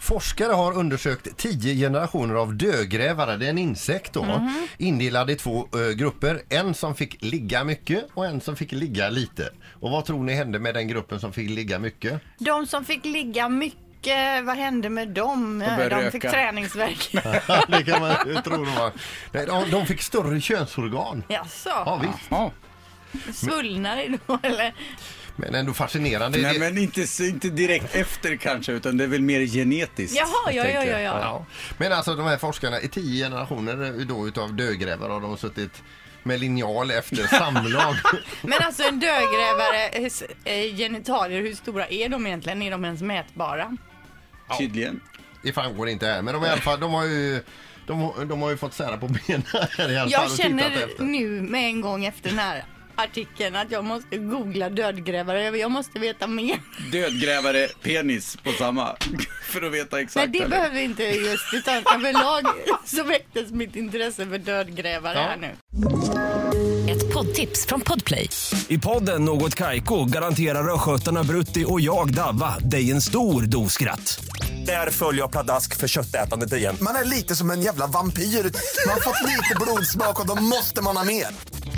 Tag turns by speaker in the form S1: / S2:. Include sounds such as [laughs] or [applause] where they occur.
S1: Forskare har undersökt tio generationer av dödgrävare, det är en insekt då, indelad i två eh, grupper. En som fick ligga mycket och en som fick ligga lite. Och vad tror ni hände med den gruppen som fick ligga mycket?
S2: De som fick ligga mycket, vad hände med dem?
S3: började
S2: De fick
S3: röka.
S2: träningsvärk.
S1: [laughs] det kan man ju tro. De, var. Nej, de- de fick större könsorgan. Ja,
S2: [laughs] Jaså,
S1: visst.
S3: Ja.
S2: svullnade det då eller?
S1: Men ändå fascinerande.
S3: Nej,
S1: Det-
S3: men inte, s- inte direkt efter kanske, utan det är väl mer genetiskt.
S2: Jaha, ja,
S3: tänker
S2: ja, ja,
S3: jag.
S2: ja.
S1: Ja. Men alltså de här forskarna i tio generationer eh, då utav dödgrävare har de suttit med linjal efter samlag. [laughs]
S2: Men alltså en dödgrävares eh, genitalier, hur stora är de egentligen? Är de ens mätbara?
S3: Tydligen.
S1: det framgår inte här, men de, är i alla fall, de har ju de, har- de har ju fått sära på benen här i alla fall
S2: Jag
S1: och tittat
S2: känner
S1: efter.
S2: nu med en gång efter den här artikeln att jag måste googla dödgrävare. Jag måste veta mer.
S3: Dödgrävare, penis på samma. [laughs] För att veta
S2: Nej,
S3: exakt.
S2: det
S3: eller?
S2: behöver vi inte just. Utan överlag så väcktes mitt intresse för dödgrävare
S1: Ja.
S2: här nu.
S4: Ett poddtips från Podplay.
S5: I podden Något Kaiko garanterar östgötarna Brutti och jag, Davva, dig en stor dos skratt. Där följer jag pladask för köttätandet igen.
S6: Man är lite som en jävla vampyr. Man har fått lite blodsmak och då måste man ha mer.